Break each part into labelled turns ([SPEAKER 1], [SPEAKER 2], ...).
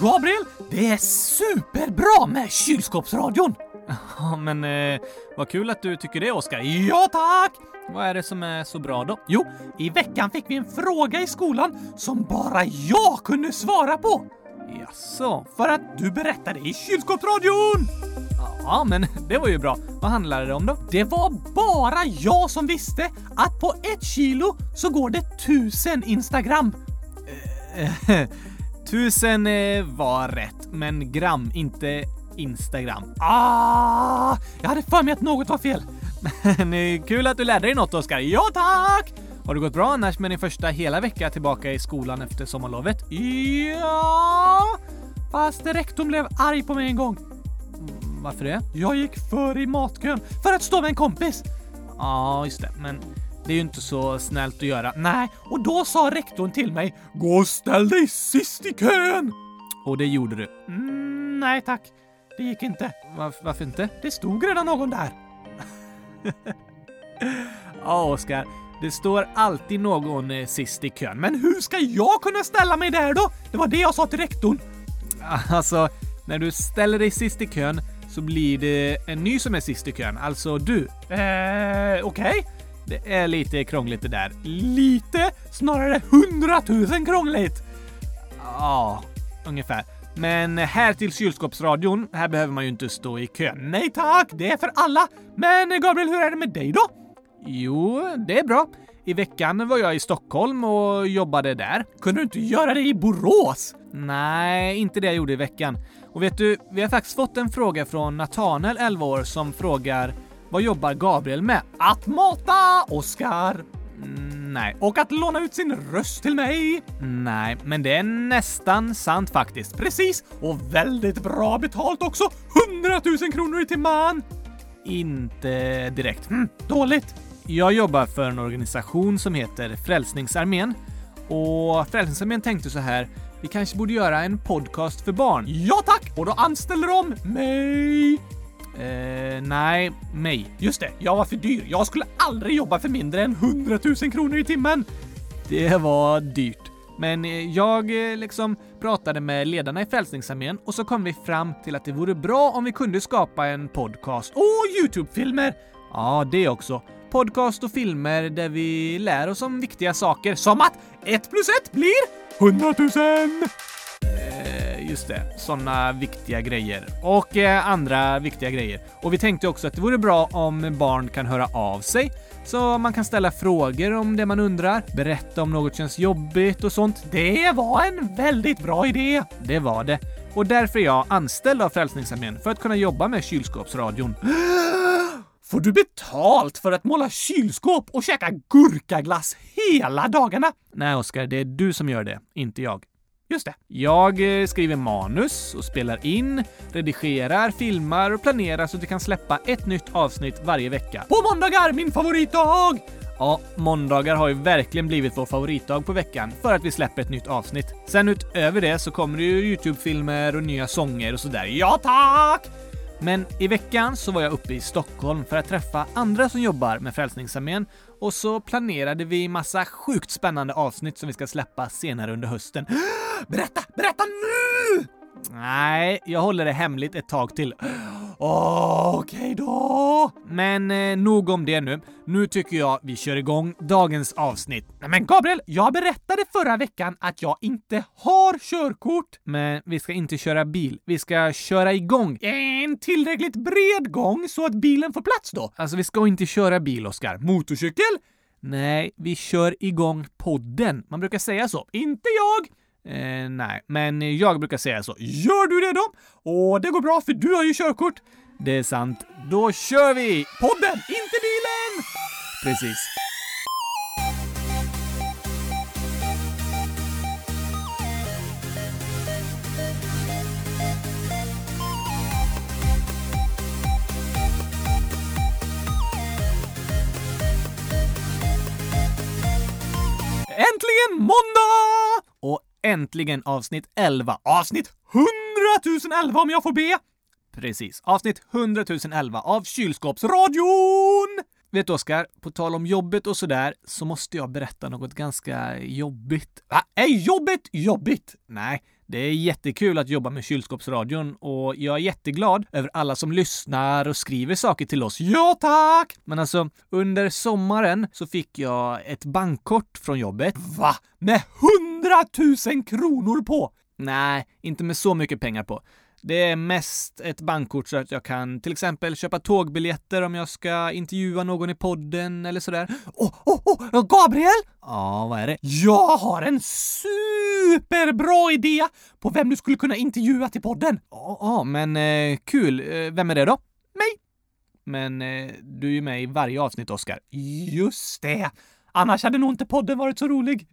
[SPEAKER 1] Gabriel, det är superbra med kylskåpsradion!
[SPEAKER 2] Ja, men eh, vad kul att du tycker det, Oskar.
[SPEAKER 1] Ja tack!
[SPEAKER 2] Vad är det som är så bra då?
[SPEAKER 1] Jo, i veckan fick vi en fråga i skolan som bara jag kunde svara på!
[SPEAKER 2] Jaså?
[SPEAKER 1] För att du berättade i kylskåpsradion!
[SPEAKER 2] Ja, men det var ju bra. Vad handlade det om då?
[SPEAKER 1] Det var bara jag som visste att på ett kilo så går det tusen Instagram.
[SPEAKER 2] Eh, Tusen eh, var rätt, men gram, inte Instagram.
[SPEAKER 1] Ah, jag hade för mig att något var fel.
[SPEAKER 2] Men eh, kul att du lärde dig något, Oskar. Ja, tack! Har det gått bra annars med din första hela vecka tillbaka i skolan efter sommarlovet?
[SPEAKER 1] Ja, fast rektorn blev arg på mig en gång.
[SPEAKER 2] Varför det?
[SPEAKER 1] Jag gick för i matkön för att stå med en kompis.
[SPEAKER 2] Ja, just det. Men det är ju inte så snällt att göra.
[SPEAKER 1] Nej, och då sa rektorn till mig “Gå och ställ dig sist i kön!”
[SPEAKER 2] Och det gjorde du.
[SPEAKER 1] mm, Nej tack, det gick inte.
[SPEAKER 2] Varf- varför inte?
[SPEAKER 1] Det stod redan någon där.
[SPEAKER 2] Ja, Oskar. Det står alltid någon eh, sist i kön, men
[SPEAKER 1] Men hur ska jag kunna ställa mig där då? Det var det jag sa till rektorn.
[SPEAKER 2] Alltså, när du ställer dig sist i kön så blir det en ny som är sist i kön, alltså du.
[SPEAKER 1] Eh, okej.
[SPEAKER 2] Det är lite krångligt det där.
[SPEAKER 1] Lite, snarare hundratusen krångligt.
[SPEAKER 2] Ja, ungefär. Men här till kylskåpsradion, här behöver man ju inte stå i kön.
[SPEAKER 1] Nej tack, det är för alla. Men Gabriel, hur är det med dig då?
[SPEAKER 2] Jo, det är bra. I veckan var jag i Stockholm och jobbade där.
[SPEAKER 1] Kunde du inte göra det i Borås?
[SPEAKER 2] Nej, inte det jag gjorde i veckan. Och vet du, vi har faktiskt fått en fråga från Nathanael, 11 år, som frågar vad jobbar Gabriel med?
[SPEAKER 1] Att mata Oscar.
[SPEAKER 2] Mm, nej,
[SPEAKER 1] Och att låna ut sin röst till mig.
[SPEAKER 2] nej, men det är nästan sant faktiskt.
[SPEAKER 1] Precis, och väldigt bra betalt också. 100 000 kronor i timmen.
[SPEAKER 2] Inte direkt. Hm,
[SPEAKER 1] Mm, dåligt.
[SPEAKER 2] Jag jobbar för en organisation som heter Frälsningsarmén. Och Frälsningsarmén tänkte så här, vi kanske borde göra en podcast för barn.
[SPEAKER 1] Ja tack, och då anställer de mig.
[SPEAKER 2] Eh, nej, mig.
[SPEAKER 1] Just det, jag var för dyr. Jag skulle aldrig jobba för mindre än 100 000 kronor i timmen.
[SPEAKER 2] Det var dyrt. Men eh, jag eh, liksom pratade med ledarna i Frälsningsarmén och så kom vi fram till att det vore bra om vi kunde skapa en podcast.
[SPEAKER 1] Och Youtube-filmer.
[SPEAKER 2] Ja, det också. Podcast och filmer där vi lär oss om viktiga saker.
[SPEAKER 1] Som att ett plus ett blir 100 000.
[SPEAKER 2] Eh, Just det, sådana viktiga grejer. Och eh, andra viktiga grejer. Och vi tänkte också att det vore bra om barn kan höra av sig. Så man kan ställa frågor om det man undrar, berätta om något känns jobbigt och sånt.
[SPEAKER 1] Det var en väldigt bra idé.
[SPEAKER 2] Det var det. Och därför är jag anställd av Frälsningsarmén för att kunna jobba med kylskåpsradion.
[SPEAKER 1] Får du betalt för att måla kylskåp och käka gurkaglass hela dagarna?
[SPEAKER 2] Nej, Oskar, det är du som gör det, inte jag.
[SPEAKER 1] Just det.
[SPEAKER 2] Jag eh, skriver manus och spelar in, redigerar, filmar och planerar så att vi kan släppa ett nytt avsnitt varje vecka.
[SPEAKER 1] På måndagar, min favoritdag!
[SPEAKER 2] Ja, måndagar har ju verkligen blivit vår favoritdag på veckan för att vi släpper ett nytt avsnitt. Sen utöver det så kommer det ju Youtube-filmer och nya sånger och sådär. Ja, tack! Men i veckan så var jag uppe i Stockholm för att träffa andra som jobbar med Frälsningsarmén och så planerade vi massa sjukt spännande avsnitt som vi ska släppa senare under hösten.
[SPEAKER 1] Berätta, berätta nu!
[SPEAKER 2] Nej, jag håller det hemligt ett tag till.
[SPEAKER 1] Åh, Okej då.
[SPEAKER 2] Men eh, nog om det nu. Nu tycker jag vi kör igång dagens avsnitt.
[SPEAKER 1] Nej, Men Gabriel, jag berättade förra veckan att jag inte har körkort.
[SPEAKER 2] Men vi ska inte köra bil, vi ska köra igång.
[SPEAKER 1] En tillräckligt bred gång så att bilen får plats då.
[SPEAKER 2] Alltså vi ska inte köra bil, Oskar.
[SPEAKER 1] Motorcykel?
[SPEAKER 2] Nej, vi kör igång podden. Man brukar säga så.
[SPEAKER 1] Inte jag.
[SPEAKER 2] Eh, nej, men jag brukar säga så.
[SPEAKER 1] Gör du det då? Och det går bra för du har ju körkort.
[SPEAKER 2] Det är sant. Då kör vi!
[SPEAKER 1] Podden, inte bilen!
[SPEAKER 2] Precis.
[SPEAKER 1] Äntligen måndag!
[SPEAKER 2] Och äntligen avsnitt 11.
[SPEAKER 1] Avsnitt 100 011 om jag får be.
[SPEAKER 2] Precis. Avsnitt 100 011 av Kylskåps...
[SPEAKER 1] Radion!
[SPEAKER 2] Vet du, Oskar? På tal om jobbet och sådär, så måste jag berätta något ganska jobbigt.
[SPEAKER 1] Va? Är jobbet jobbigt?
[SPEAKER 2] Nej, Det är jättekul att jobba med kylskåpsradion och jag är jätteglad över alla som lyssnar och skriver saker till oss. Ja tack! Men alltså, under sommaren så fick jag ett bankkort från jobbet.
[SPEAKER 1] Va? Med hundratusen kronor på?
[SPEAKER 2] Nej, inte med så mycket pengar på. Det är mest ett bankkort så att jag kan till exempel köpa tågbiljetter om jag ska intervjua någon i podden eller sådär.
[SPEAKER 1] Åh, åh, åh! Gabriel!
[SPEAKER 2] Ja, vad är det?
[SPEAKER 1] Jag har en superbra idé på vem du skulle kunna intervjua till podden.
[SPEAKER 2] Ja, ja, men eh, kul. Eh, Vem är det då?
[SPEAKER 1] Mig.
[SPEAKER 2] Men eh, du är ju med i varje avsnitt, Oskar.
[SPEAKER 1] Just det. Annars hade nog inte podden varit så rolig.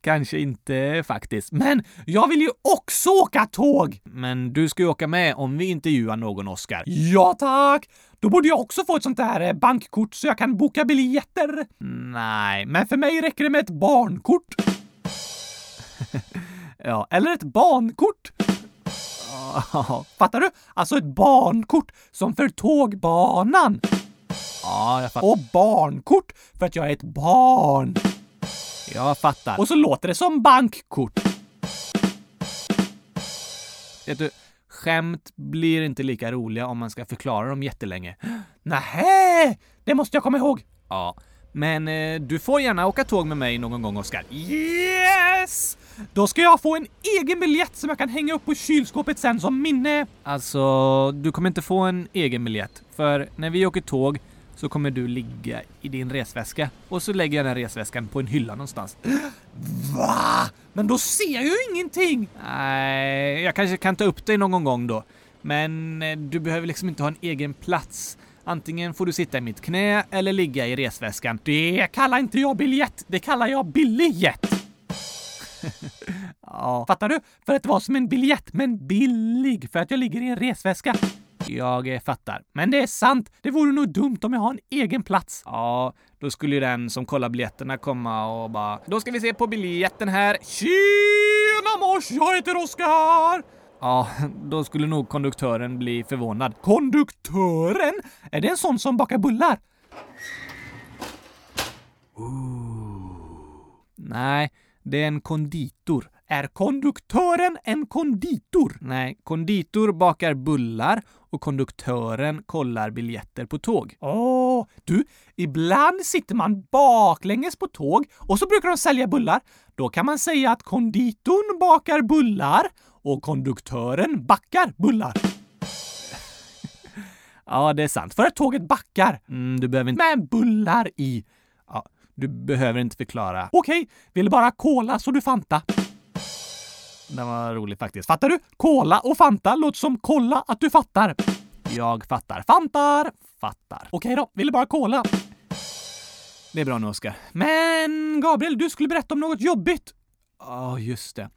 [SPEAKER 2] Kanske inte faktiskt.
[SPEAKER 1] Men jag vill ju också åka tåg!
[SPEAKER 2] Men du ska ju åka med om vi intervjuar någon, Oskar.
[SPEAKER 1] Ja tack! Då borde jag också få ett sånt där eh, bankkort så jag kan boka biljetter.
[SPEAKER 2] Nej, men...
[SPEAKER 1] Men för mig räcker det med ett barnkort.
[SPEAKER 2] Ja, eller...
[SPEAKER 1] Eller ett bankort. Fattar du? Alltså ett bankort som för tågbanan.
[SPEAKER 2] Ja, jag, fatt...
[SPEAKER 1] Och barnkort för att jag är ett barn.
[SPEAKER 2] jag fattar.
[SPEAKER 1] Och så låter det som bankkort.
[SPEAKER 2] Vet du, skämt blir inte lika roliga om man ska förklara dem jättelänge.
[SPEAKER 1] Nähä! Det måste jag komma ihåg.
[SPEAKER 2] Ja. Men eh, du får gärna åka tåg med mig någon gång, Oskar.
[SPEAKER 1] Yes! Då ska jag få en egen biljett som jag kan hänga upp på kylskåpet sen som minne.
[SPEAKER 2] Alltså, du kommer inte få en egen biljett. För när vi åker tåg så kommer du ligga i din resväska och så lägger jag den resväskan på en hylla någonstans.
[SPEAKER 1] Va? Men då ser jag ju ingenting!
[SPEAKER 2] Nej, jag kanske kan ta upp dig någon gång då. Men eh, du behöver liksom inte ha en egen plats. Antingen får du sitta i mitt knä eller ligga i resväskan.
[SPEAKER 1] Det kallar inte jag biljett, det kallar jag billigjet.
[SPEAKER 2] Ja,
[SPEAKER 1] Fattar du? För att det var som en biljett, men billig, för att jag ligger i en resväska.
[SPEAKER 2] jag eh, fattar.
[SPEAKER 1] Men det är sant, det vore nog dumt om jag har en egen plats.
[SPEAKER 2] Ja, då skulle ju den som kollar biljetterna komma och bara “Då ska vi se på biljetten här”.
[SPEAKER 1] Tjena mors, jag heter Oskar!
[SPEAKER 2] Ja, då skulle nog konduktören bli förvånad.
[SPEAKER 1] Konduktören? Är det en sån som bakar bullar?
[SPEAKER 2] Nej, det är en konditor.
[SPEAKER 1] Är konduktören en konditor?
[SPEAKER 2] Nej, konditor bakar bullar och konduktören kollar biljetter på tåg.
[SPEAKER 1] Åh, du, ibland sitter man baklänges på tåg och så brukar de sälja bullar. Då kan man säga att konditorn bakar bullar och konduktören backar bullar.
[SPEAKER 2] Ja, det är sant.
[SPEAKER 1] För att tåget backar
[SPEAKER 2] Mm, du behöver inte...
[SPEAKER 1] med bullar i.
[SPEAKER 2] Ja, du behöver inte förklara.
[SPEAKER 1] Okej, vill bara kola så du fanta.
[SPEAKER 2] Den var rolig faktiskt.
[SPEAKER 1] Fattar du? Kola och fanta låter som kolla att du fattar.
[SPEAKER 2] Jag fattar.
[SPEAKER 1] Fantar!
[SPEAKER 2] Fattar.
[SPEAKER 1] Okej då, vill bara kola.
[SPEAKER 2] Det är bra nu, Oskar.
[SPEAKER 1] Men Gabriel, du skulle berätta om något jobbigt.
[SPEAKER 2] Ja, just det.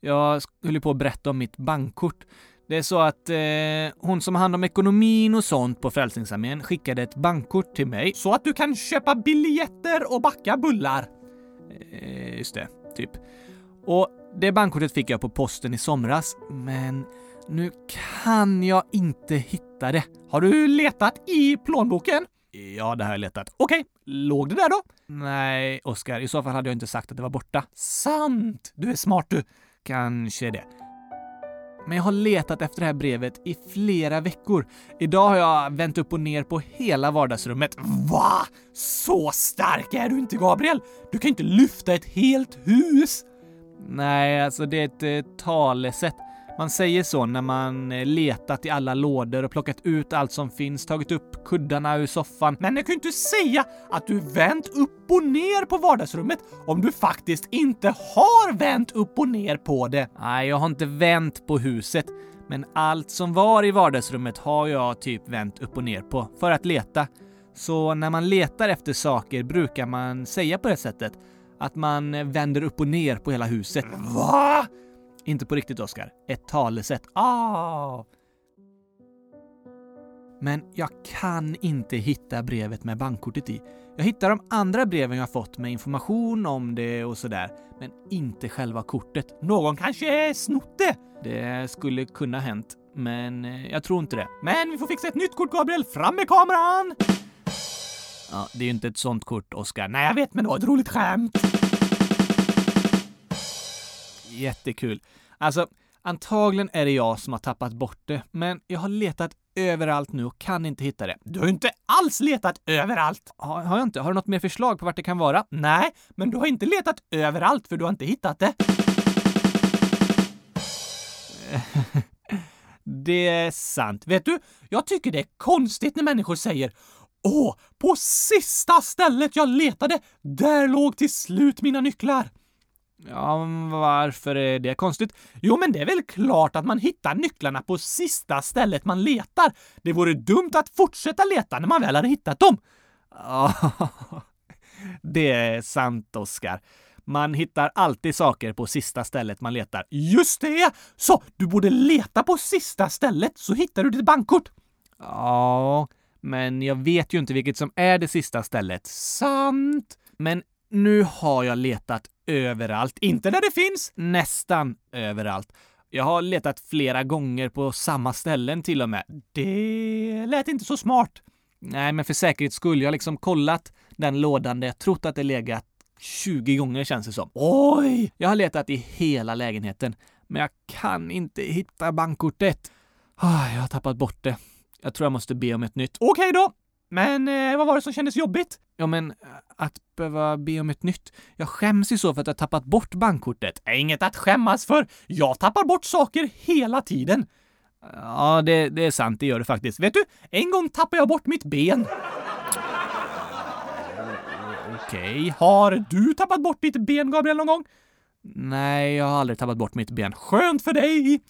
[SPEAKER 2] Jag skulle på att berätta om mitt bankkort. Det är så att eh, hon som har hand om ekonomin och sånt på Frälsningsarmén skickade ett bankkort till mig.
[SPEAKER 1] Så att du kan köpa biljetter och backa bullar.
[SPEAKER 2] Eh, just det, typ. Och det bankkortet fick jag på posten i somras, men nu kan jag inte hitta det.
[SPEAKER 1] Har du letat i plånboken?
[SPEAKER 2] Ja, det har jag letat.
[SPEAKER 1] Okej, låg det där då?
[SPEAKER 2] Nej, Oskar, i så fall hade jag inte sagt att det var borta.
[SPEAKER 1] Sant! Du är smart du.
[SPEAKER 2] Kanske det. Men jag har letat efter det här brevet i flera veckor. Idag har jag vänt upp och ner på hela vardagsrummet.
[SPEAKER 1] Va? Så stark är du inte Gabriel! Du kan inte lyfta ett helt hus!
[SPEAKER 2] Nej, alltså det är ett eh, talesätt. Man säger så när man eh, letat i alla lådor och plockat ut allt som finns, tagit upp kuddarna ur soffan.
[SPEAKER 1] Men jag kan ju inte säga att du vänt upp och ner på vardagsrummet om du faktiskt inte har vänt upp och ner på det.
[SPEAKER 2] Nej, jag har inte vänt på huset. Men allt som var i vardagsrummet har jag typ vänt upp och ner på för att leta. Så när man letar efter saker brukar man säga på det sättet. Att man eh, vänder upp och ner på hela huset.
[SPEAKER 1] Va?
[SPEAKER 2] Inte på riktigt, Oskar. Ett talesätt.
[SPEAKER 1] Ah,
[SPEAKER 2] Men jag kan inte hitta brevet med bankkortet i. Jag hittar de andra breven jag fått med information om det och sådär, men inte själva kortet.
[SPEAKER 1] någon kanske snott det.
[SPEAKER 2] Det skulle kunna hänt, men eh, jag tror inte det.
[SPEAKER 1] Men vi får fixa ett nytt kort Gabriel, fram med kameran!
[SPEAKER 2] Ja, det är ju inte ett sånt kort, Oskar. Nej.
[SPEAKER 1] Nej jag vet men det var ett roligt skämt.
[SPEAKER 2] Jättekul. Alltså, antagligen är det jag som har tappat bort det, men jag har letat överallt nu och kan inte hitta det.
[SPEAKER 1] Du har ju inte alls letat överallt.
[SPEAKER 2] Har, har jag inte? Har du något mer förslag på vart det kan vara?
[SPEAKER 1] Nej, men du har inte letat överallt för du har inte hittat det.
[SPEAKER 2] Det är sant.
[SPEAKER 1] Vet du, jag tycker det är konstigt när människor säger Åh, på sista stället jag letade, där låg till slut mina nycklar.
[SPEAKER 2] Ja, varför är det konstigt?
[SPEAKER 1] Jo, men det är väl klart att man hittar nycklarna på sista stället man letar. Det vore dumt att fortsätta leta när man väl hade hittat dem.
[SPEAKER 2] Ja, det är sant, Oskar. Man hittar alltid saker på sista stället man letar.
[SPEAKER 1] Just det! Så, du borde leta på sista stället så hittar du ditt bankkort.
[SPEAKER 2] Ja, men jag vet ju inte vilket som är det sista stället.
[SPEAKER 1] Sant.
[SPEAKER 2] Men nu har jag letat överallt.
[SPEAKER 1] Inte där det finns.
[SPEAKER 2] Nästan överallt. Jag har letat flera gånger på samma ställen till och med.
[SPEAKER 1] Det lät inte så smart.
[SPEAKER 2] Nej, men för säkerhets skull. Jag har liksom kollat den lådan där jag trott att det legat 20 gånger känns det som.
[SPEAKER 1] Oj!
[SPEAKER 2] Jag har letat i hela lägenheten, men jag kan inte hitta bankkortet. Ah, Jag har tappat bort det. Jag tror jag måste be om ett nytt.
[SPEAKER 1] Okej då. Men eh, vad var det som kändes jobbigt?
[SPEAKER 2] Ja, men eh, att behöva be om ett nytt. Jag skäms ju så för att jag har tappat bort bankkortet.
[SPEAKER 1] Äh, Inget att skämmas för. Jag tappar bort saker hela tiden.
[SPEAKER 2] Ja, det, det är sant. Det gör du faktiskt.
[SPEAKER 1] Vet du, en gång tappade jag bort mitt ben.
[SPEAKER 2] Okej.
[SPEAKER 1] Har du tappat bort ditt ben, Gabriel, någon gång?
[SPEAKER 2] Nej, jag har aldrig tappat bort mitt ben.
[SPEAKER 1] Skönt för dig!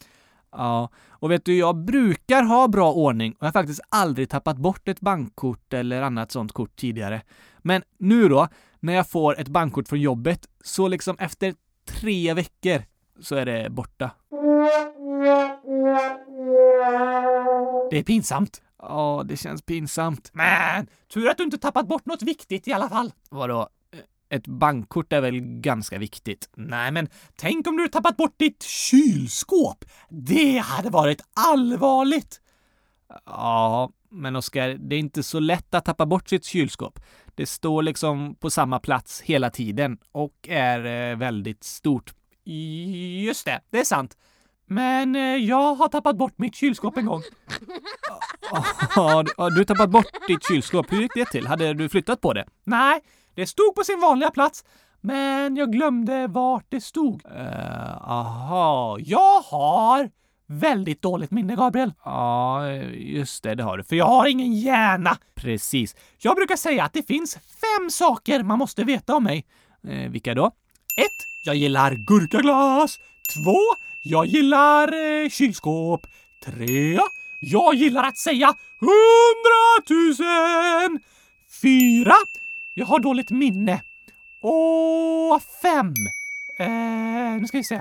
[SPEAKER 2] Ja, och vet du, jag brukar ha bra ordning och jag har faktiskt aldrig tappat bort ett bankkort eller annat sånt kort tidigare. Men nu då, när jag får ett bankkort från jobbet, så liksom efter tre veckor så är det borta.
[SPEAKER 1] Det är pinsamt.
[SPEAKER 2] Ja, det känns pinsamt.
[SPEAKER 1] Men, tur att du inte tappat bort något viktigt i alla fall.
[SPEAKER 2] Vadå? Ett bankkort är väl ganska viktigt?
[SPEAKER 1] Nej, men tänk om du tappat bort ditt kylskåp. Det hade varit allvarligt.
[SPEAKER 2] Ja, men Oskar, det är inte så lätt att tappa bort sitt kylskåp. Det står liksom på samma plats hela tiden och är eh, väldigt stort.
[SPEAKER 1] Just det, det är sant. Men eh, jag har tappat bort mitt kylskåp en gång.
[SPEAKER 2] Ja, du- ja, du har tappat bort ditt kylskåp. Hur gick det till? Hade du flyttat på det?
[SPEAKER 1] Nej, det stod på sin vanliga plats, men jag glömde vart det stod.
[SPEAKER 2] Eh,
[SPEAKER 1] Aha, jag har väldigt dåligt minne, Gabriel.
[SPEAKER 2] Ja, just det, det har du. För
[SPEAKER 1] För jag har ingen hjärna.
[SPEAKER 2] precis.
[SPEAKER 1] Jag brukar säga att det finns fem saker man måste veta om mig.
[SPEAKER 2] Eh, vilka då?
[SPEAKER 1] 1. Jag gillar gurkaglass. 2. Jag gillar eh, kylskåp. 3. Jag gillar att säga hundratusen. 4. Jag har dåligt minne. Och 5. Eh, nu ska vi se.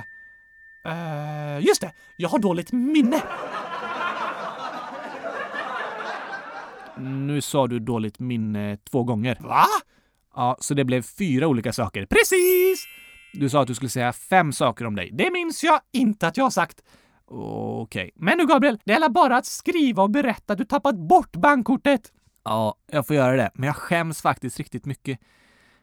[SPEAKER 1] Eh, just det, jag har dåligt minne.
[SPEAKER 2] Nu sa du dåligt minne två gånger.
[SPEAKER 1] Va?
[SPEAKER 2] Ja, så det blev fyra olika saker.
[SPEAKER 1] Precis!
[SPEAKER 2] Du sa att du skulle säga fem saker om dig.
[SPEAKER 1] Det minns jag inte att jag har sagt.
[SPEAKER 2] Okej.
[SPEAKER 1] Men nu Gabriel, det gäller bara att skriva och berätta att du tappat bort bankkortet.
[SPEAKER 2] Ja, jag får göra det. Men jag skäms faktiskt riktigt mycket.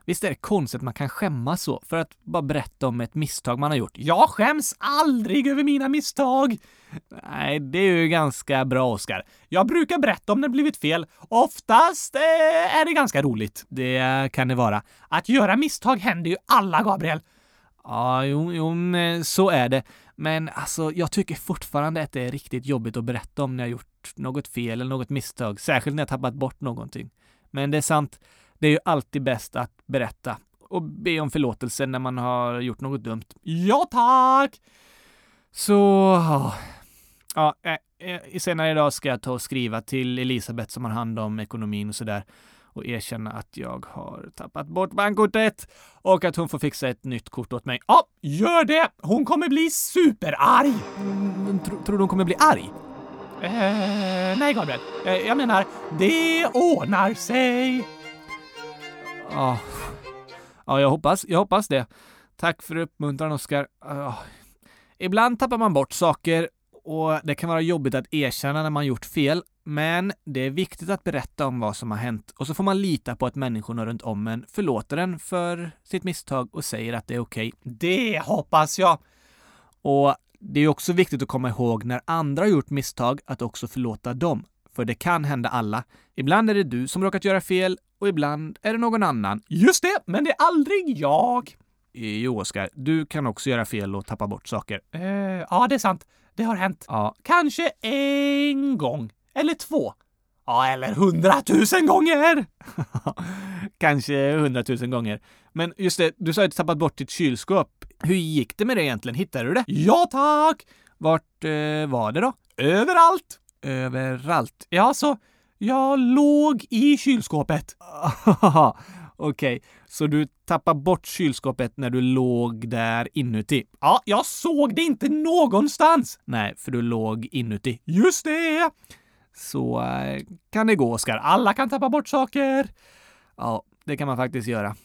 [SPEAKER 2] Visst är det konstigt att man kan skämmas så för att bara berätta om ett misstag man har gjort?
[SPEAKER 1] Jag skäms aldrig över mina misstag.
[SPEAKER 2] Nej, det är ju ganska bra, Oskar.
[SPEAKER 1] Jag brukar berätta om det blivit fel. Oftast eh, är det ganska roligt.
[SPEAKER 2] Det kan det vara.
[SPEAKER 1] Att göra misstag händer ju alla, Gabriel.
[SPEAKER 2] Ja, jo, jo, men så är det. Men alltså, jag tycker fortfarande att det är riktigt jobbigt att berätta om när jag gjort något fel eller något misstag, särskilt när jag tappat bort någonting. Men det är sant, det är ju alltid bäst att berätta och be om förlåtelse när man har gjort något dumt.
[SPEAKER 1] Ja, tack!
[SPEAKER 2] Så, ja. ja eh, eh, senare idag ska jag ta och skriva till Elisabeth som har hand om ekonomin och sådär och erkänna att jag har tappat bort bankkortet och att hon får fixa ett nytt kort åt mig.
[SPEAKER 1] Ja, gör det! Hon kommer bli superarg!
[SPEAKER 2] Men tro- Mm, Tror du hon kommer bli arg?
[SPEAKER 1] Eh, nej, Gabriel. Eh, jag menar, det ordnar sig.
[SPEAKER 2] Ja, Ah. ja jag, hoppas, jag hoppas det. Tack för uppmuntran, Oskar. Ja. Ibland tappar man bort saker och det kan vara jobbigt att erkänna när man gjort fel, men det är viktigt att berätta om vad som har hänt och så får man lita på att människorna runt om en förlåter en för sitt misstag och säger att det är okej.
[SPEAKER 1] Det hoppas jag.
[SPEAKER 2] Och det är också viktigt att komma ihåg när andra har gjort misstag att också förlåta dem. För det kan hända alla. Ibland är det du som råkat göra fel och ibland är det någon annan.
[SPEAKER 1] Just det, men det är aldrig jag.
[SPEAKER 2] Jo, Oskar, du kan också göra fel och tappa bort saker.
[SPEAKER 1] Eh, ja, det är sant. Det har hänt.
[SPEAKER 2] Ja,
[SPEAKER 1] Kanske en gång. Eller två. Ja, eller hundratusen gånger!
[SPEAKER 2] kanske hundratusen gånger. Men just det, du sa att du tappat bort ditt kylskåp. Hur gick det med det egentligen? Hittade du det?
[SPEAKER 1] Ja, tack!
[SPEAKER 2] Vart eh, var det då?
[SPEAKER 1] Överallt!
[SPEAKER 2] Överallt.
[SPEAKER 1] Ja, så jag låg i kylskåpet.
[SPEAKER 2] Okej, så du tappar bort kylskåpet när du låg där inuti?
[SPEAKER 1] Ja, jag såg det inte någonstans.
[SPEAKER 2] Nej, för du låg inuti.
[SPEAKER 1] Just det!
[SPEAKER 2] Så eh, kan det gå, Oskar.
[SPEAKER 1] Alla kan tappa bort saker.
[SPEAKER 2] Ja, det kan man faktiskt göra.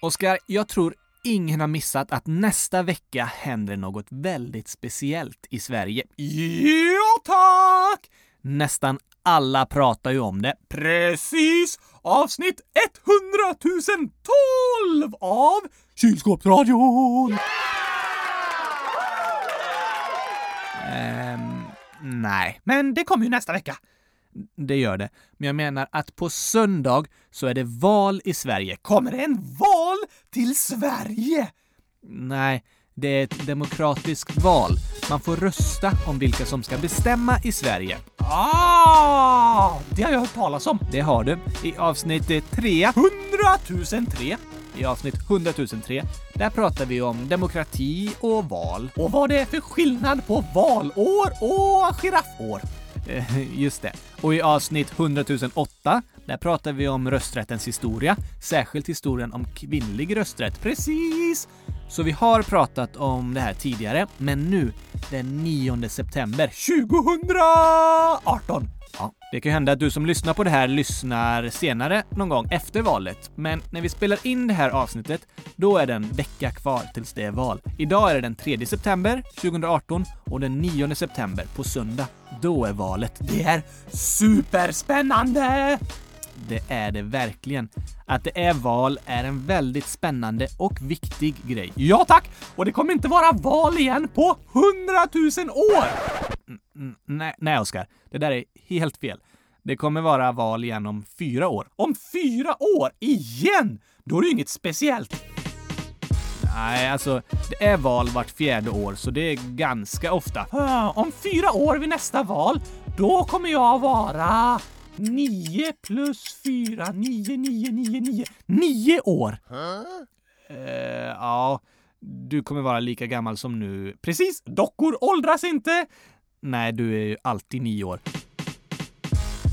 [SPEAKER 2] Oskar, jag tror ingen har missat att nästa vecka händer något väldigt speciellt i Sverige.
[SPEAKER 1] Ja, tack!
[SPEAKER 2] Nästan alla pratar ju om det.
[SPEAKER 1] Precis! Avsnitt 100 012 av Kylskåpsradion!
[SPEAKER 2] Ehm, nej,
[SPEAKER 1] Men det kommer ju nästa vecka.
[SPEAKER 2] det gör det. Men jag menar att på söndag så är det val i Sverige.
[SPEAKER 1] Kommer det en val till Sverige?
[SPEAKER 2] Nej, det är ett demokratiskt val. Man får rösta om vilka som ska bestämma i Sverige.
[SPEAKER 1] Ah, det har jag hört talas om.
[SPEAKER 2] Det har du i avsnitt eh, tre.
[SPEAKER 1] 100 003.
[SPEAKER 2] I avsnitt 100 003. Där pratar vi om demokrati och val.
[SPEAKER 1] Och vad det är för skillnad på valår och giraffår.
[SPEAKER 2] Eh, Just det. Och i avsnitt 100 008, där pratar vi om rösträttens historia, särskilt historien om kvinnlig rösträtt. Precis! Så vi har pratat om det här tidigare, men nu, den 9 september
[SPEAKER 1] 2018.
[SPEAKER 2] Ja, det kan ju hända att du som lyssnar på det här lyssnar senare någon gång efter valet. Men när vi spelar in det här avsnittet, då är det en vecka kvar tills det är val. Idag är det den 3 september 2018 och den 9 september på söndag. Då är valet.
[SPEAKER 1] Det är superspännande!
[SPEAKER 2] Det är det verkligen. Att det är val är en väldigt spännande och viktig grej.
[SPEAKER 1] Ja tack! Och det kommer inte vara val igen på 100 000 år!
[SPEAKER 2] Mm, nej, nej Oskar. Det där är helt fel. Det kommer vara val igen om fyra år.
[SPEAKER 1] Om fyra år igen! Då är det ju inget speciellt.
[SPEAKER 2] Nej, alltså det är val vart fjärde år, så det är ganska ofta.
[SPEAKER 1] Ah, Om fyra år vid nästa val, då kommer jag vara 9 plus 4, 9, 9, 9, 9. 9 år!
[SPEAKER 2] Eh, ja, du kommer vara lika gammal som nu.
[SPEAKER 1] Precis, dockor åldras inte.
[SPEAKER 2] Nej, du är ju alltid nio år.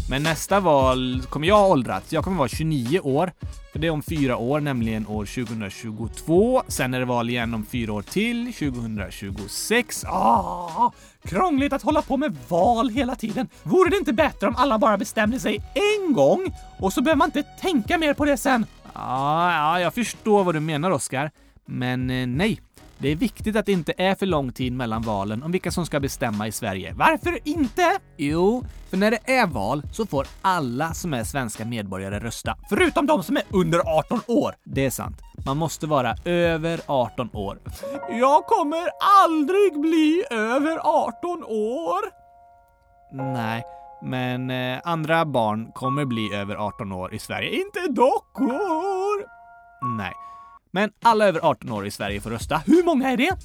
[SPEAKER 2] Men nästa val kommer jag ha åldrats. Jag kommer vara 29 år. För det är om fyra år, nämligen år 2022. Sen är det val igen om fyra år till, 2026. Ja,
[SPEAKER 1] Ah, krångligt att hålla på med val hela tiden. Vore det inte bättre om alla bara bestämde sig en gång och så behöver man inte tänka mer på det sen?
[SPEAKER 2] Ah, ja, jag förstår vad du menar, Oskar. Men eh, nej, det är viktigt att det inte är för lång tid mellan valen om vilka som ska bestämma i Sverige.
[SPEAKER 1] Varför inte?
[SPEAKER 2] Jo, för när det är val så får alla som är svenska medborgare rösta.
[SPEAKER 1] Förutom de som är under 18 år.
[SPEAKER 2] Det är sant. Man måste vara över 18 år.
[SPEAKER 1] Jag kommer aldrig bli över 18 år.
[SPEAKER 2] Nej, men eh, andra barn kommer bli över 18 år i Sverige. Inte
[SPEAKER 1] Inte dockor.
[SPEAKER 2] Nej. Men alla över 18 år i Sverige får rösta.
[SPEAKER 1] Hur många är det?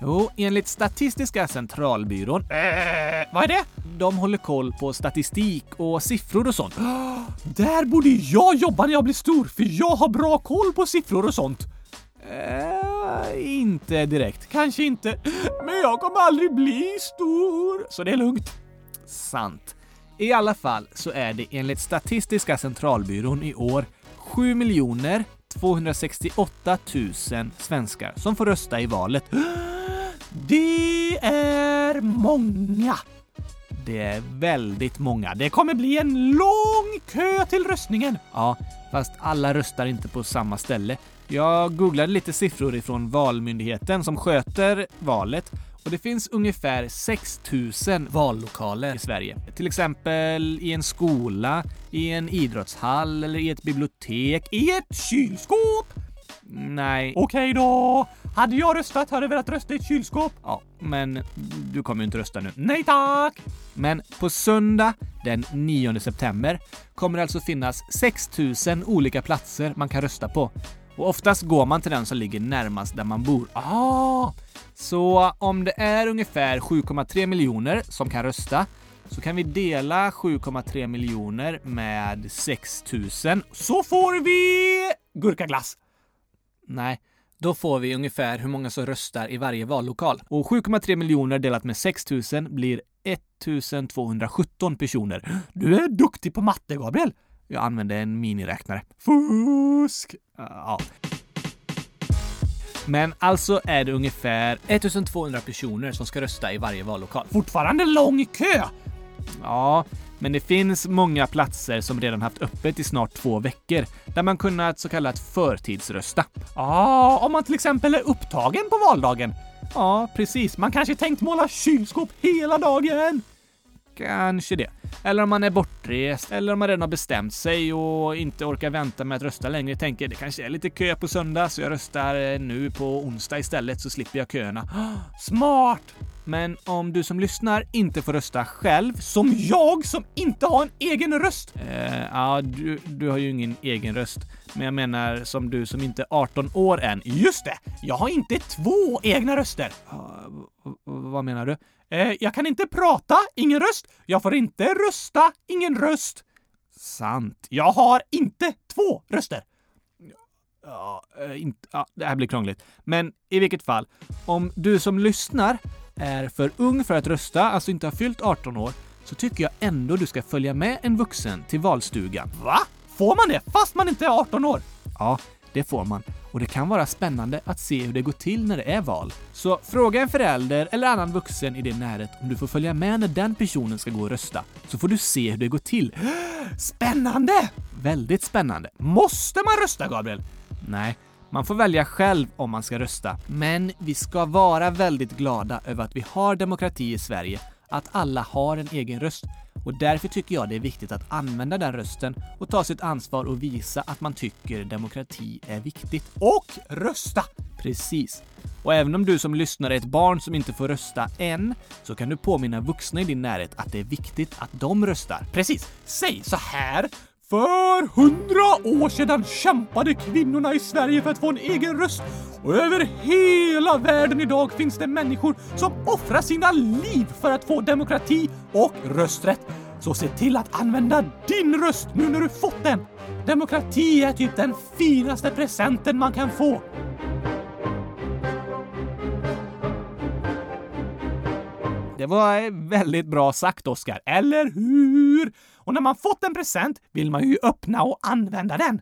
[SPEAKER 2] Jo, enligt Statistiska centralbyrån,
[SPEAKER 1] Eh, vad är det?
[SPEAKER 2] de håller koll på statistik och siffror och sånt.
[SPEAKER 1] Där borde jag jobba när jag blir stor, för jag har bra koll på siffror och sånt.
[SPEAKER 2] Eh, Inte direkt.
[SPEAKER 1] Kanske inte, men jag kommer aldrig bli stor. Så det är lugnt.
[SPEAKER 2] Sant. I alla fall så är det enligt Statistiska centralbyrån i år 7 miljoner 268 000 svenskar som får rösta i valet.
[SPEAKER 1] Det är många.
[SPEAKER 2] Det är väldigt många. Det
[SPEAKER 1] Det kommer bli en lång kö till röstningen.
[SPEAKER 2] Ja, fast alla röstar inte på samma ställe. Jag googlade lite siffror ifrån Valmyndigheten som sköter valet och det finns ungefär 6 000 vallokaler i Sverige. Till exempel i en skola, i en idrottshall eller i ett bibliotek.
[SPEAKER 1] I ett kylskåp.
[SPEAKER 2] Nej,
[SPEAKER 1] Okej då. Hade jag röstat hade jag velat rösta i ett kylskåp.
[SPEAKER 2] ja, men du kommer ju inte rösta nu.
[SPEAKER 1] Nej tack.
[SPEAKER 2] Men på söndag den 9 september kommer det alltså finnas 6 000 olika platser man kan rösta på. Och oftast går man till den som ligger närmast där man bor.
[SPEAKER 1] Ah,
[SPEAKER 2] Så om det är ungefär 7,3 miljoner som kan rösta så kan vi dela 7,3 miljoner med 6 000.
[SPEAKER 1] så får vi gurkaglass.
[SPEAKER 2] Nej, då får vi ungefär hur många som röstar i varje vallokal. Och 7,3 miljoner delat med 6 000 blir 1217 personer.
[SPEAKER 1] Du är duktig på matte, Gabriel.
[SPEAKER 2] Jag använde en miniräknare.
[SPEAKER 1] Fusk!
[SPEAKER 2] Ja. Men alltså är det ungefär 1200 personer som ska rösta i varje vallokal.
[SPEAKER 1] Fortfarande lång kö.
[SPEAKER 2] Ja, men det finns många platser som redan haft öppet i snart två veckor där man kunnat så kallat förtidsrösta.
[SPEAKER 1] Ja, om man till exempel är upptagen på valdagen.
[SPEAKER 2] Ja, precis. Man
[SPEAKER 1] Man kanske tänkt måla kylskåp hela dagen.
[SPEAKER 2] kanske det. Eller om man är bortrest, eller om man redan har bestämt sig och inte orkar vänta med att rösta längre. Tänker det kanske är lite kö på söndag så jag röstar eh, nu på onsdag istället så slipper jag köerna.
[SPEAKER 1] Smart!
[SPEAKER 2] Men om du som lyssnar inte får rösta själv
[SPEAKER 1] Som jag som inte har en egen röst.
[SPEAKER 2] Eh, ja, du, du har ju ingen egen röst. Men jag menar som du som inte är 18 år än.
[SPEAKER 1] Just det, jag har inte två egna röster.
[SPEAKER 2] Ja, v- v- vad menar du?
[SPEAKER 1] Eh, jag kan inte prata, ingen röst. Jag får inte rösta, ingen röst.
[SPEAKER 2] Sant.
[SPEAKER 1] Jag har inte två röster.
[SPEAKER 2] Ja, eh, inte, ja, det här blir krångligt. Men i vilket fall, om du som lyssnar är för ung för att rösta, alltså inte har fyllt 18 år, så tycker jag ändå du ska följa med en vuxen till valstugan.
[SPEAKER 1] Va? Får man det fast man inte är 18 år?
[SPEAKER 2] Ja, det får man. Och det kan vara spännande att se hur det går till när det är val. Så fråga en förälder eller annan vuxen i din närhet om du får följa med när den personen ska gå och rösta. Så får du se hur det går till.
[SPEAKER 1] Spännande!
[SPEAKER 2] Väldigt spännande.
[SPEAKER 1] Måste man rösta, Gabriel?
[SPEAKER 2] Nej, man får välja själv om man ska rösta. Men vi ska vara väldigt glada över att vi har demokrati i Sverige, att alla har en egen röst. Och därför tycker jag det är viktigt att använda den rösten och ta sitt ansvar och visa att man tycker demokrati är viktigt.
[SPEAKER 1] Och rösta!
[SPEAKER 2] Precis. Och även om du som lyssnar är ett barn som inte får rösta än, så kan du påminna vuxna i din närhet att det är viktigt att de röstar.
[SPEAKER 1] Precis. Säg så här. För hundra år sedan kämpade kvinnorna i Sverige för att få en egen röst. Och över hela världen idag finns det människor som offrar sina liv för att få demokrati och rösträtt. Så se till att använda din röst nu när du fått den. Demokrati är typ den finaste presenten man kan få.
[SPEAKER 2] Det var eh, väldigt bra sagt, Oskar.
[SPEAKER 1] Eller hur? Och när man fått en present vill man ju öppna och använda den.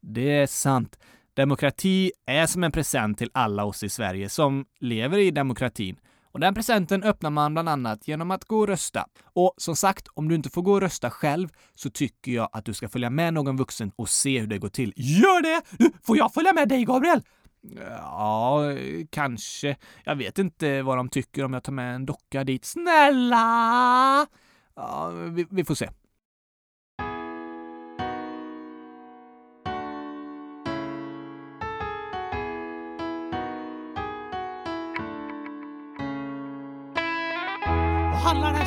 [SPEAKER 2] Det är sant. Demokrati är som en present till alla oss i Sverige som lever i demokratin. Och den presenten öppnar man bland annat genom att gå och rösta. Och som sagt, om du inte får gå och rösta själv så tycker jag att du ska följa med någon vuxen och se hur det går till.
[SPEAKER 1] Gör det! Du, får jag följa med dig, Gabriel?
[SPEAKER 2] Ja, kanske. Jag vet inte vad de tycker om jag tar med en docka dit.
[SPEAKER 1] Snälla!
[SPEAKER 2] Ja, vi, vi får se.
[SPEAKER 1] Vad handlar den här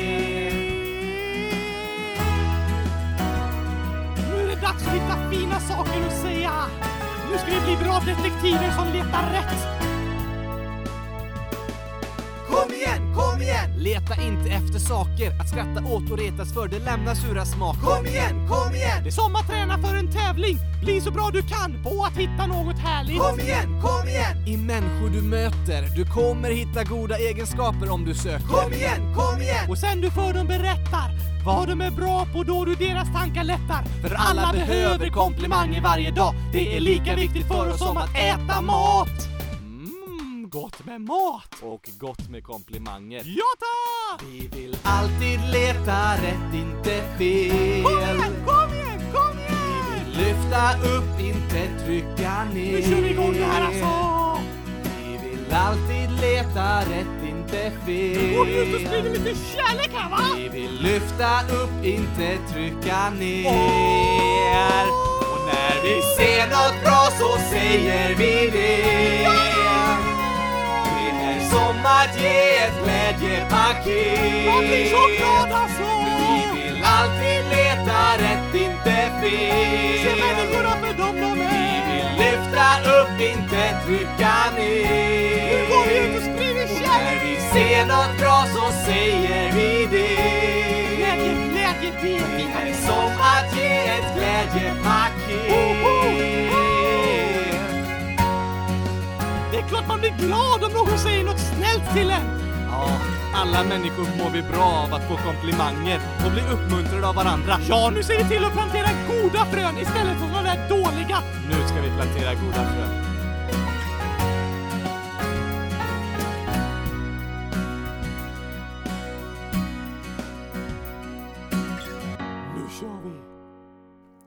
[SPEAKER 1] Nu är det dags att hitta fina saker att säga! Nu ska vi bli bra detektiver som letar rätt!
[SPEAKER 3] Kom igen, kom igen! Leta inte efter saker att skratta åt och retas för, det lämnar sura smaker. Kom igen, kom igen!
[SPEAKER 1] Det är som att träna för en tävling! Bli så bra du kan på att hitta något härligt!
[SPEAKER 3] igen, kom igen! I människor du möter, du kommer hitta goda egenskaper om du söker. Kom igen, kom igen!
[SPEAKER 1] Och sen du för dem berättar vad de är bra på då du deras tankar lättar. För alla behöver komplimanger varje dag. Det är lika viktigt för oss som att äta mat! Mmm, gott med mat!
[SPEAKER 3] Och gott med komplimanger.
[SPEAKER 1] Ja tack!
[SPEAKER 3] Vi vill alltid leta rätt, inte fel.
[SPEAKER 1] Kom igen, kom igen, kom igen!
[SPEAKER 3] Lyfta upp, inte trycka ner.
[SPEAKER 1] Nu kör vi igång det här alltså!
[SPEAKER 3] Vi vill alltid leta rätt, inte fel.
[SPEAKER 1] Går vi ut och sprider lite kärlek här va?
[SPEAKER 3] Vi vill lyfta upp, inte trycka ner. Och när vi ser något bra så säger vi det. Det är som att ge ett glädjepaket.
[SPEAKER 1] Man blir så glad alltså!
[SPEAKER 3] Vi vill alltid leta rätt, inte fel.
[SPEAKER 1] Se människorna för dem de
[SPEAKER 3] Vi
[SPEAKER 1] är!
[SPEAKER 3] vill lyfta upp, inte trycka ner.
[SPEAKER 1] Nu går vi ut och sprider
[SPEAKER 3] Och
[SPEAKER 1] kärlek!
[SPEAKER 3] när vi ser något bra så säger vi det.
[SPEAKER 1] Glädje, glädje, det är
[SPEAKER 3] Det är
[SPEAKER 1] vi!
[SPEAKER 3] som att ge ett glädjepaket.
[SPEAKER 1] Det är klart man blir glad om någon säger något snällt till en!
[SPEAKER 3] Ja, alla människor mår vi bra av att få komplimanger och bli uppmuntrade av varandra.
[SPEAKER 1] Ja, nu ser vi till att plantera goda frön istället för de där dåliga!
[SPEAKER 3] Nu ska vi plantera goda frön.
[SPEAKER 1] Nu kör vi!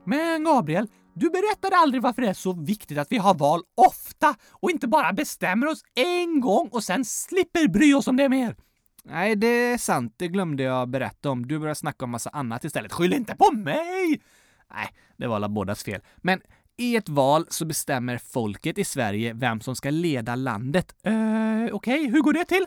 [SPEAKER 1] Men Gabriel, du berättade aldrig varför det är så viktigt att vi har val ofta och inte bara bestämmer oss en gång och sen slipper bry oss om det mer.
[SPEAKER 2] Nej, det är sant. Det glömde jag berätta om. Du började snacka om massa annat istället.
[SPEAKER 1] Skyll inte på mig!
[SPEAKER 2] Nej, det var alla bådas fel. Men i ett val så bestämmer folket i Sverige vem som ska leda landet.
[SPEAKER 1] Eh, Okej, hur går det till?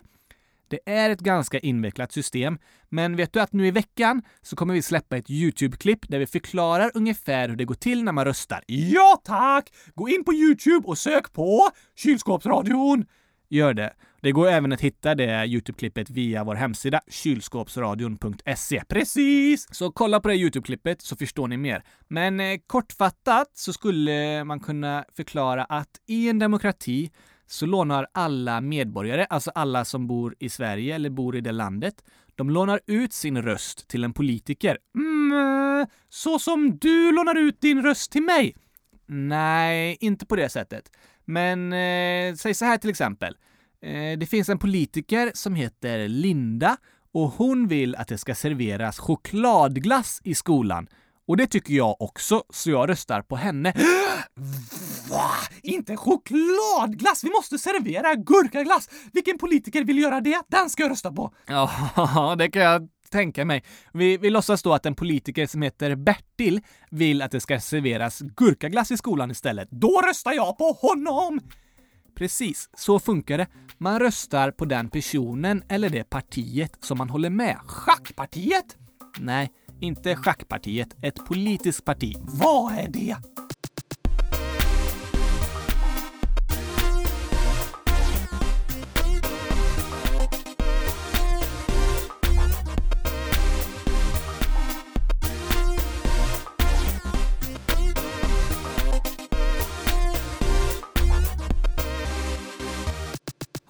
[SPEAKER 2] Det är ett ganska invecklat system, men vet du att nu i veckan så kommer vi släppa ett YouTube-klipp där vi förklarar ungefär hur det går till när man röstar.
[SPEAKER 1] Ja tack! Gå in på Youtube och sök på Kylskåpsradion!
[SPEAKER 2] Gör det. Det går även att hitta det YouTube-klippet via vår hemsida kylskåpsradion.se.
[SPEAKER 1] Precis!
[SPEAKER 2] Så kolla på det YouTube-klippet så förstår ni mer. Men eh, kortfattat så skulle man kunna förklara att i en demokrati så lånar alla medborgare, alltså alla som bor i Sverige eller bor i det landet, de lånar ut sin röst till en politiker.
[SPEAKER 1] Mm, eh, så som du lånar ut din röst till mig.
[SPEAKER 2] Nej, inte på det sättet. Men eh, säg så här till exempel. Eh, det finns en politiker som heter Linda och hon vill att det ska serveras chokladglass i skolan. Och det tycker jag också, så jag röstar på henne.
[SPEAKER 1] Va? Inte chokladglass! Vi måste servera gurkaglass! Vilken politiker vill göra det? Den ska jag rösta på!
[SPEAKER 2] Ja, det kan jag tänka mig. Vi, vi låtsas då att en politiker som heter Bertil vill att det ska serveras gurkaglass i skolan istället.
[SPEAKER 1] Då röstar jag på honom!
[SPEAKER 2] Precis, så funkar det. Man röstar på den personen eller det partiet som man håller med.
[SPEAKER 1] Schackpartiet?
[SPEAKER 2] Nej, inte schackpartiet, ett politiskt parti.
[SPEAKER 1] Vad är det?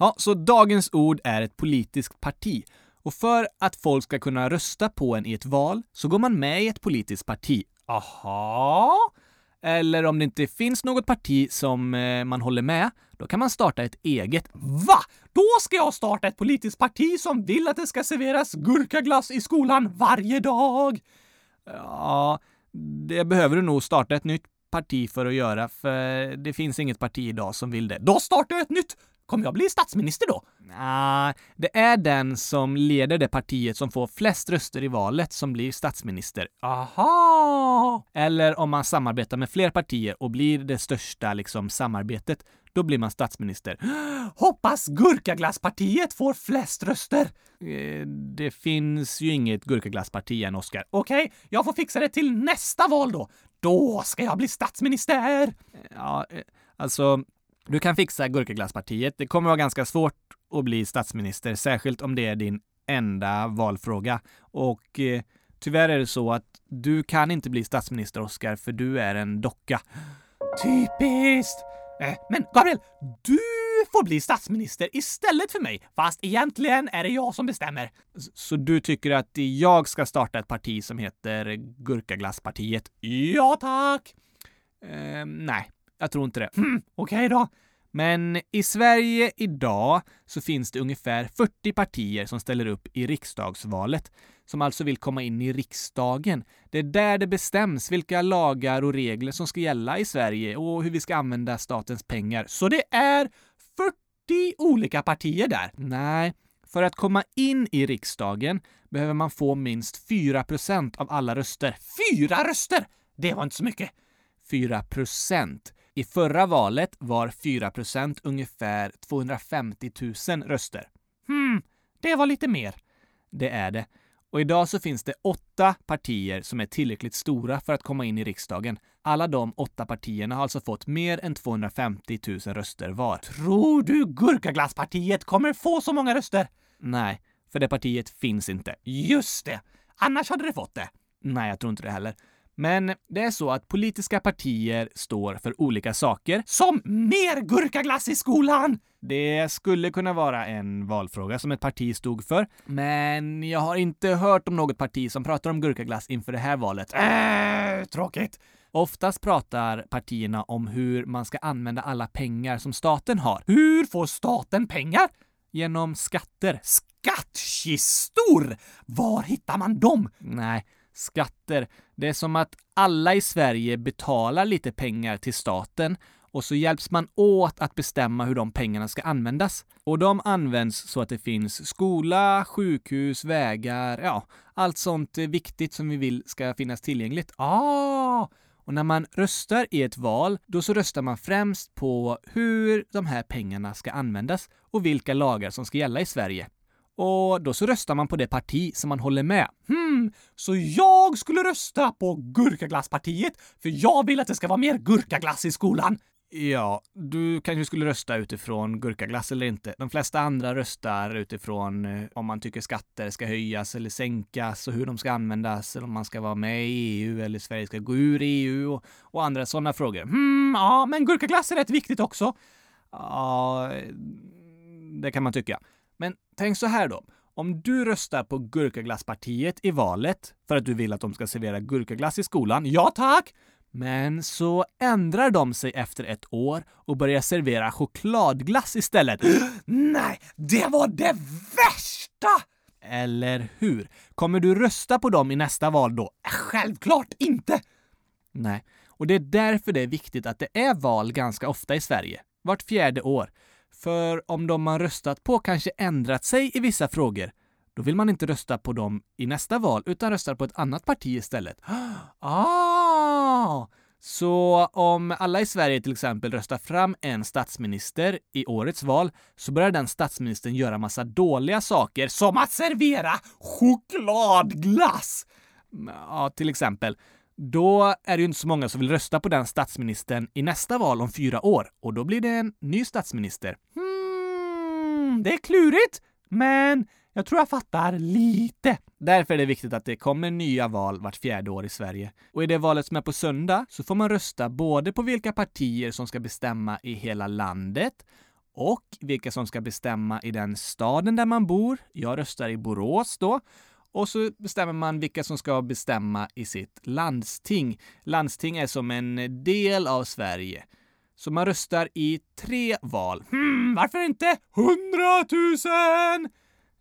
[SPEAKER 2] Ja, så dagens ord är ett politiskt parti. Och för att folk ska kunna rösta på en i ett val så går man med i ett politiskt parti. Aha! Eller om det inte finns något parti som eh, man håller med, då kan man starta ett eget.
[SPEAKER 1] Va? Då ska jag starta ett politiskt parti som vill att det ska serveras gurkaglass i skolan varje dag.
[SPEAKER 2] Ja, det behöver du nog starta ett nytt parti för att göra, för det finns inget parti idag som vill det.
[SPEAKER 1] Då startar jag ett nytt! Kommer jag bli statsminister då?
[SPEAKER 2] Nja, det är den som leder det partiet som får flest röster i valet som blir statsminister.
[SPEAKER 1] Aha!
[SPEAKER 2] Eller om man samarbetar med fler partier och blir det största liksom, samarbetet, då blir man statsminister.
[SPEAKER 1] Hoppas gurkaglasspartiet får flest röster!
[SPEAKER 2] Eh, Det finns ju inget gurkaglassparti än, Oskar.
[SPEAKER 1] Okej, jag får fixa det till nästa val då. Då ska jag bli statsminister!
[SPEAKER 2] Ja, eh, alltså, du kan fixa gurkaglasspartiet. Det kommer vara ganska svårt att bli statsminister, särskilt om det är din enda valfråga. Och eh, tyvärr är det så att du kan inte bli statsminister, Oskar, för du är en docka.
[SPEAKER 1] Typiskt! Eh, Men Gabriel, du får bli statsminister istället för mig. Fast egentligen är det jag som bestämmer.
[SPEAKER 2] S- Så du tycker att jag ska starta ett parti som heter Gurkaglasspartiet?
[SPEAKER 1] Ja tack!
[SPEAKER 2] Eh, nej, jag tror inte det.
[SPEAKER 1] Okej då.
[SPEAKER 2] Men i Sverige idag så finns det ungefär 40 partier som ställer upp i riksdagsvalet, som alltså vill komma in i riksdagen. Det är där det bestäms vilka lagar och regler som ska gälla i Sverige och hur vi ska använda statens pengar.
[SPEAKER 1] Så det är 40 olika partier där.
[SPEAKER 2] Nej, för att komma in i riksdagen behöver man få minst 4 av alla röster.
[SPEAKER 1] Fyra röster! Det var inte så mycket.
[SPEAKER 2] 4 procent. I förra valet var 4 procent ungefär 250 000 röster.
[SPEAKER 1] Hmm, det var lite mer.
[SPEAKER 2] Det är det. Och idag så finns det åtta partier som är tillräckligt stora för att komma in i riksdagen. Alla de åtta partierna har alltså fått mer än 250 000 röster var.
[SPEAKER 1] Tror du gurkaglasspartiet kommer få så många röster?
[SPEAKER 2] Nej, för det partiet finns inte.
[SPEAKER 1] Just det! Annars hade det fått det.
[SPEAKER 2] Nej, jag tror inte det heller. Men det är så att politiska partier står för olika saker.
[SPEAKER 1] Som mer gurkaglass i skolan!
[SPEAKER 2] Det skulle kunna vara en valfråga som ett parti stod för, men jag har inte hört om något parti som pratar om gurkaglass inför det här valet.
[SPEAKER 1] Äh, tråkigt.
[SPEAKER 2] Oftast pratar partierna om hur man ska använda alla pengar som staten har.
[SPEAKER 1] Hur får staten pengar?
[SPEAKER 2] Genom skatter.
[SPEAKER 1] Skattkistor! Var hittar man dem?
[SPEAKER 2] Nej, skatter. Det är som att alla i Sverige betalar lite pengar till staten och så hjälps man åt att bestämma hur de pengarna ska användas. Och de används så att det finns skola, sjukhus, vägar, ja, allt sånt eh, viktigt som vi vill ska finnas tillgängligt.
[SPEAKER 1] Ah,
[SPEAKER 2] Och när man röstar i ett val, då så röstar man främst på hur de här pengarna ska användas och vilka lagar som ska gälla i Sverige. Och då så röstar man på det parti som man håller med.
[SPEAKER 1] hmm. Så jag skulle rösta på gurkaglasspartiet för jag vill att det ska vara mer gurkaglass i skolan.
[SPEAKER 2] Ja, du kanske skulle rösta utifrån gurkaglass eller inte. De flesta andra röstar utifrån eh, om man tycker skatter ska höjas eller sänkas och hur de ska användas eller om man ska vara med i EU eller Sverige ska gå ur EU och, och andra sådana frågor.
[SPEAKER 1] Hmm, ja, men gurkaglass är rätt viktigt också.
[SPEAKER 2] Ja, det kan man tycka. Men tänk så här då. Om du röstar på Gurkaglasspartiet i valet för att du vill att de ska servera gurkaglass i skolan, ja tack! Men så ändrar de sig efter ett år och börjar servera chokladglass istället.
[SPEAKER 1] Nej, det var det värsta!
[SPEAKER 2] Eller hur? Kommer du rösta på dem i nästa val då?
[SPEAKER 1] Självklart inte!
[SPEAKER 2] Nej, och det är därför det är viktigt att det är val ganska ofta i Sverige, vart fjärde år. För om de man röstat på kanske ändrat sig i vissa frågor, då vill man inte rösta på dem i nästa val utan röstar på ett annat parti istället. Ah! Så om alla i Sverige till exempel röstar fram en statsminister i årets val så börjar den statsministern göra massa dåliga saker som att servera chokladglass! Ja, till exempel. Då är det ju inte så många som vill rösta på den statsministern i nästa val om fyra år och då blir det en ny statsminister.
[SPEAKER 1] Hmm, det är klurigt, men jag tror jag fattar lite.
[SPEAKER 2] Därför är det viktigt att det kommer nya val vart fjärde år i Sverige. Och i det valet som är på söndag så får man rösta både på vilka partier som ska bestämma i hela landet och vilka som ska bestämma i den staden där man bor. Jag röstar i Borås då. Och så bestämmer man vilka som ska bestämma i sitt landsting. Landsting är som en del av Sverige. Så man röstar i tre val. Hmm, varför inte hundratusen?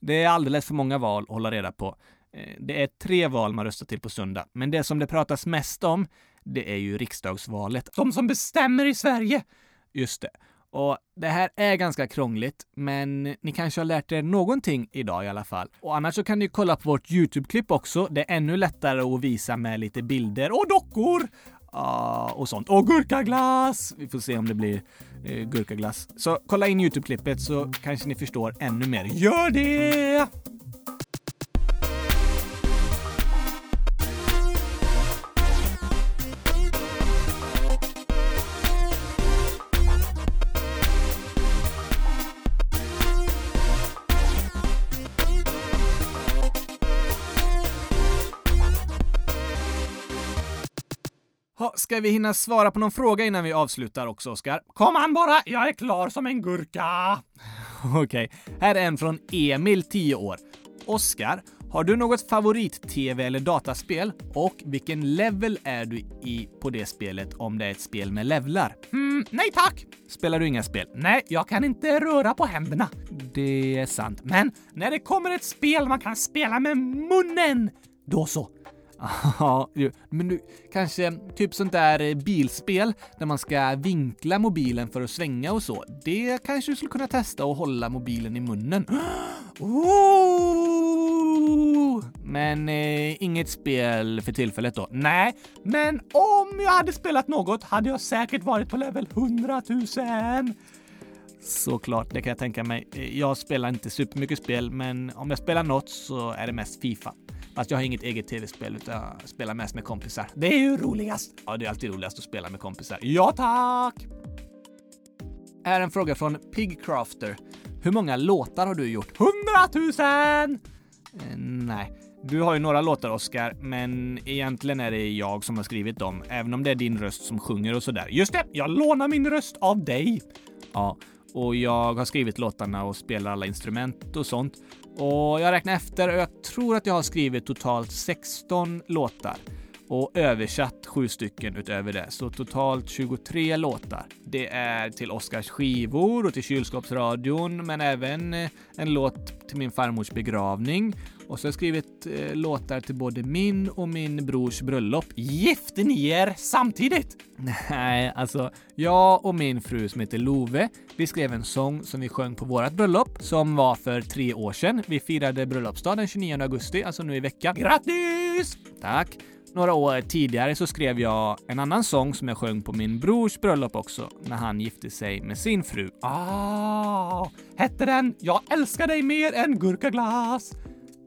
[SPEAKER 2] Det är alldeles för många val att hålla reda på. Eh, Det är tre val man röstar till på söndag, men det som det pratas mest om, det är ju riksdagsvalet.
[SPEAKER 1] De som bestämmer i Sverige.
[SPEAKER 2] Just det. Och det här är ganska krångligt, men ni kanske har lärt er någonting idag i alla fall. Och annars så kan ni kolla på vårt YouTube-klipp också. Det är ännu lättare att visa med lite bilder och dockor ah, och sånt. Och gurkaglass! Vi får se om det blir eh, gurkaglass. Så kolla in YouTube-klippet så kanske ni förstår ännu mer. Gör det! Ha, ska vi hinna svara på någon fråga innan vi avslutar också, Oskar?
[SPEAKER 1] Kom an bara, jag är klar som en gurka.
[SPEAKER 2] Okej, här är en från Emil, 10 år. Oskar, har du något favorit-tv eller dataspel? Och vilken level är du i på det spelet om det är ett spel med levlar? Hmm,
[SPEAKER 1] Mm, nej tack!
[SPEAKER 2] Spelar du inga spel?
[SPEAKER 1] Nej, jag kan inte röra på händerna.
[SPEAKER 2] Det är sant. Men...
[SPEAKER 1] Men när det kommer ett spel man kan spela med munnen, då så.
[SPEAKER 2] Ja, ju. men du, kanske typ sånt där eh, bilspel där man ska vinkla mobilen för att svänga och så. Det kanske du skulle kunna testa och hålla mobilen i munnen. Oh!
[SPEAKER 1] Ooh.
[SPEAKER 2] Men eh, inget spel för tillfället då?
[SPEAKER 1] Nej, men om jag hade spelat något hade jag säkert varit på level 100 000.
[SPEAKER 2] Såklart, det kan jag tänka mig. Jag spelar inte supermycket spel, men om jag spelar något så är det mest Fifa. Fast jag har inget eget tv-spel, utan jag spelar mest med kompisar.
[SPEAKER 1] Det är ju roligast.
[SPEAKER 2] Ja, det är alltid roligast att spela med kompisar.
[SPEAKER 1] Ja tack!
[SPEAKER 2] Här är en fråga från Pigcrafter. Hur många låtar har du gjort?
[SPEAKER 1] 100 000!
[SPEAKER 2] Eh, nej. Du har ju några låtar, Oscar, men egentligen är det jag som har skrivit dem, även om det är din röst som sjunger och sådär. Just
[SPEAKER 1] Just det, jag lånar min röst av dig.
[SPEAKER 2] Ja, och jag har skrivit låtarna och spelar alla instrument och sånt. Och jag räknar efter och jag tror att jag har skrivit totalt 16 låtar och översatt sju stycken utöver det. Så totalt 23 låtar. Det är till Oscars skivor och till kylskåpsradion, men även eh, en låt till min farmors begravning. Och så har jag skrivit eh, låtar till både min och min brors bröllop.
[SPEAKER 1] Gifte ni er samtidigt?
[SPEAKER 2] Nej, alltså jag och min fru som heter Love, vi skrev en sång som vi sjöng på vårt bröllop som var för tre år sedan. Vi firade bröllopsdagen den 29 augusti, alltså nu i veckan.
[SPEAKER 1] Grattis!
[SPEAKER 2] Tack! Några år tidigare så skrev jag en annan sång som jag sjöng på min brors bröllop också, när han gifte sig med sin fru.
[SPEAKER 1] Ah, hette den “Jag älskar dig mer än gurkaglass”?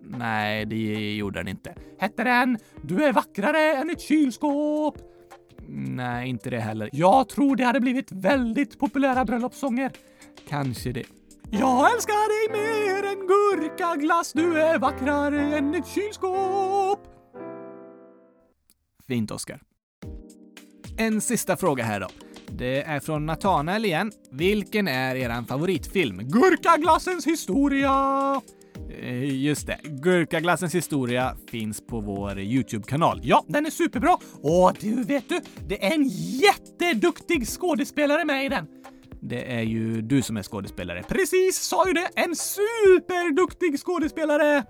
[SPEAKER 2] Nej, det gjorde han inte.
[SPEAKER 1] Hette den “Du är vackrare än ett kylskåp”?
[SPEAKER 2] Nej, inte det heller.
[SPEAKER 1] Jag tror det hade blivit väldigt populära bröllopssånger.
[SPEAKER 2] Kanske det.
[SPEAKER 1] Jag älskar dig mer än gurkaglass, du är vackrare än ett kylskåp.
[SPEAKER 2] Fint, Oskar. En sista fråga här då. Det är från Nathanael igen. Vilken är eran favoritfilm?
[SPEAKER 1] Gurkaglassens historia!
[SPEAKER 2] Eh, Just det. Gurkaglassens historia finns på vår YouTube-kanal.
[SPEAKER 1] Ja, den är superbra. Och du, vet du, det är en jätteduktig skådespelare med i den.
[SPEAKER 2] Det är ju du som är skådespelare.
[SPEAKER 1] Precis, sa ju det. En superduktig skådespelare!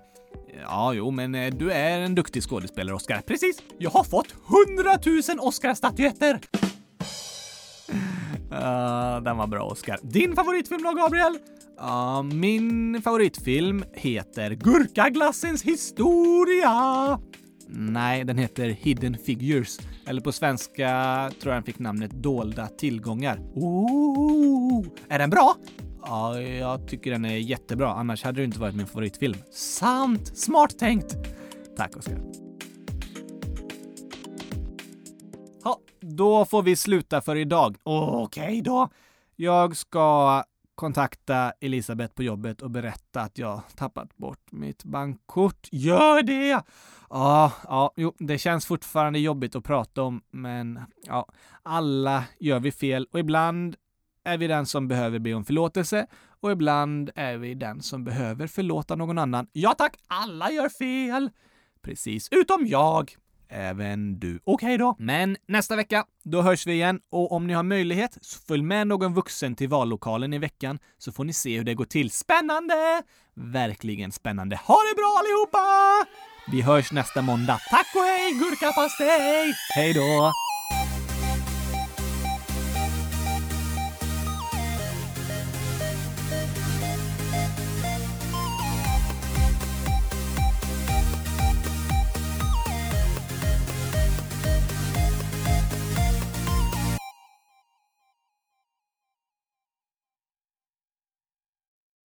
[SPEAKER 2] Ja, jo, men eh, du är en duktig skådespelare, Oskar.
[SPEAKER 1] Precis, jag har fått 100 000 Oscarsstatyetter.
[SPEAKER 2] Uh, den var bra, Oskar.
[SPEAKER 1] Din favoritfilm då, Gabriel?
[SPEAKER 2] Ja, min favoritfilm heter...
[SPEAKER 1] Gurkaglassens historia!
[SPEAKER 2] Nej, den heter Hidden Figures. Eller på svenska tror jag den fick namnet Dolda tillgångar.
[SPEAKER 1] Ooh, är den bra?
[SPEAKER 2] Ja, jag tycker den är jättebra. Annars hade det inte varit min favoritfilm.
[SPEAKER 1] Sant, smart tänkt.
[SPEAKER 2] Tack Oskar. Ja, då får vi sluta för idag.
[SPEAKER 1] Okej då.
[SPEAKER 2] Jag ska kontakta Elisabeth på jobbet och berätta att jag tappat bort mitt bankkort.
[SPEAKER 1] Gör det!
[SPEAKER 2] Ja, ja, jo, det känns fortfarande jobbigt att prata om, men ja, alla gör vi fel och ibland är vi den som behöver be om förlåtelse och ibland är vi den som behöver förlåta någon annan.
[SPEAKER 1] Ja tack, alla gör fel! Precis, utom jag.
[SPEAKER 2] Även du.
[SPEAKER 1] Okej då.
[SPEAKER 2] Men nästa vecka, då hörs vi igen och om ni har möjlighet, så följ med någon vuxen till vallokalen i veckan så får ni se hur det går till. Spännande! Verkligen spännande. Ha det bra allihopa! Vi hörs nästa måndag. Tack och hej, gurkapastej! Hej då!